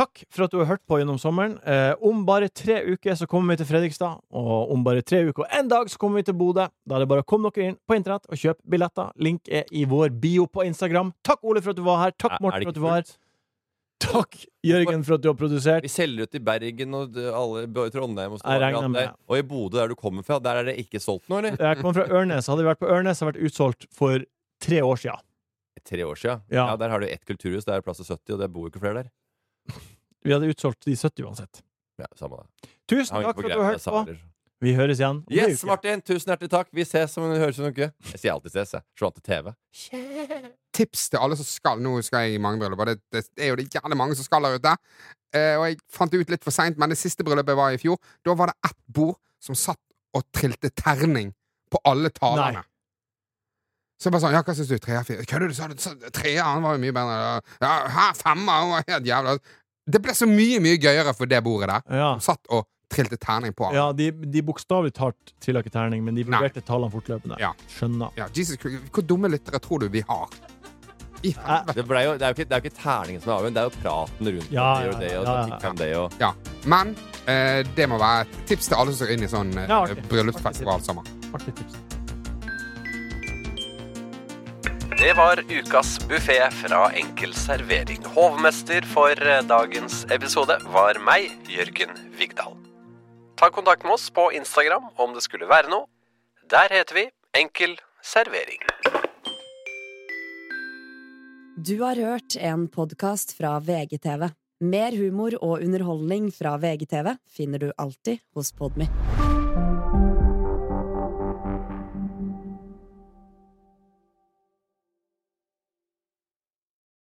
[SPEAKER 5] Takk for at du har hørt på gjennom sommeren. Eh, om bare tre uker så kommer vi til Fredrikstad, og om bare tre uker og en dag så kommer vi til Bodø. Da er det bare å komme dere inn på internett og kjøpe billetter. Link er i vår bio på Instagram. Takk, Ole, for at du var her. Takk,
[SPEAKER 3] Er- er
[SPEAKER 5] Morten,
[SPEAKER 3] det
[SPEAKER 5] for at
[SPEAKER 3] ikke
[SPEAKER 5] du var her.
[SPEAKER 3] fullt?
[SPEAKER 5] Takk, Jørgen, for at du har produsert.
[SPEAKER 3] Vi selger ut i Bergen og d- alle, b- Trondheim og,
[SPEAKER 5] Jeg regner
[SPEAKER 3] Stavanger, alt
[SPEAKER 5] med
[SPEAKER 3] der. og i Bodø, der du kommer fra. Der er det ikke solgt noe, eller?
[SPEAKER 5] Eh, Jeg kommer fra Ørnes. Hadde vi vært på Ørnes, hadde jeg vært utsolgt for tre år siden.
[SPEAKER 3] Tre år siden.
[SPEAKER 5] Ja.
[SPEAKER 3] Ja, der har du ett kulturhus. Der er det plass til 70, og det bor jo ikke flere der.
[SPEAKER 5] Vi hadde utsolgt de 70 uansett.
[SPEAKER 3] Ja, samme det. Jeg
[SPEAKER 5] Tusen
[SPEAKER 3] hang
[SPEAKER 5] takk for at
[SPEAKER 3] ikke på
[SPEAKER 5] du har
[SPEAKER 3] grep,
[SPEAKER 5] hørt
[SPEAKER 3] jeg
[SPEAKER 5] på.
[SPEAKER 3] samler.
[SPEAKER 5] Vi høres igjen. om en
[SPEAKER 3] liksom. Yes,
[SPEAKER 5] uke.
[SPEAKER 3] Martin! Tusen hjertelig takk. Vi ses om høres om en uke. Jeg sier alltid ses, jeg. Slå an til TV.
[SPEAKER 4] tips til alle som skal Nå skal jeg i mange bryllup, og det, det er jo det gjerne mange som skal der ute. Eh, og jeg fant det ut litt for seint, men det siste bryllupet var i fjor. Da var det ett bord som satt og trilte terning på alle
[SPEAKER 5] Nei.
[SPEAKER 4] talerne. Så jeg bare sånn Ja, hva syns du? Tre, fire? Kødder du? Sa du sa- treer? Han var jo mye bedre. Ja, her, femmer! Han var helt jævla Det ble så mye, mye gøyere for det bordet der.
[SPEAKER 5] Ja.
[SPEAKER 4] Han satt og trilte terning på han. Ja.
[SPEAKER 5] Ja, de, de bokstavelig talt trilla ikke terning, men de vurderte tallene fortløpende.
[SPEAKER 4] Ja.
[SPEAKER 5] Skjønner.
[SPEAKER 4] Jesus Christ, hvor dumme lyttere tror du vi har? I helvete.
[SPEAKER 3] Det, ble jo, det, er jo ikke, det er jo ikke terningen som er avgjørende, det er jo praten rundt
[SPEAKER 5] Ja,
[SPEAKER 3] det og
[SPEAKER 5] ja,
[SPEAKER 3] det,
[SPEAKER 5] ja,
[SPEAKER 3] og
[SPEAKER 5] ja,
[SPEAKER 3] så
[SPEAKER 5] ja.
[SPEAKER 3] tikk om det og
[SPEAKER 4] Ja, men eh, det må være et tips til alle som skal inn i sånn eh,
[SPEAKER 5] Ja, artig.
[SPEAKER 4] bryllupsfestival sommer.
[SPEAKER 5] Artig tips.
[SPEAKER 8] Det var ukas buffé fra Enkel servering. Hovmester for eh, dagens episode var meg, Jørgen Vigdal. Ta kontakt med oss på Instagram om det skulle være noe. Der heter vi Enkel servering.
[SPEAKER 1] Du har hørt en podkast fra VGTV. Mer humor og underholdning fra VGTV finner du alltid hos Podmy.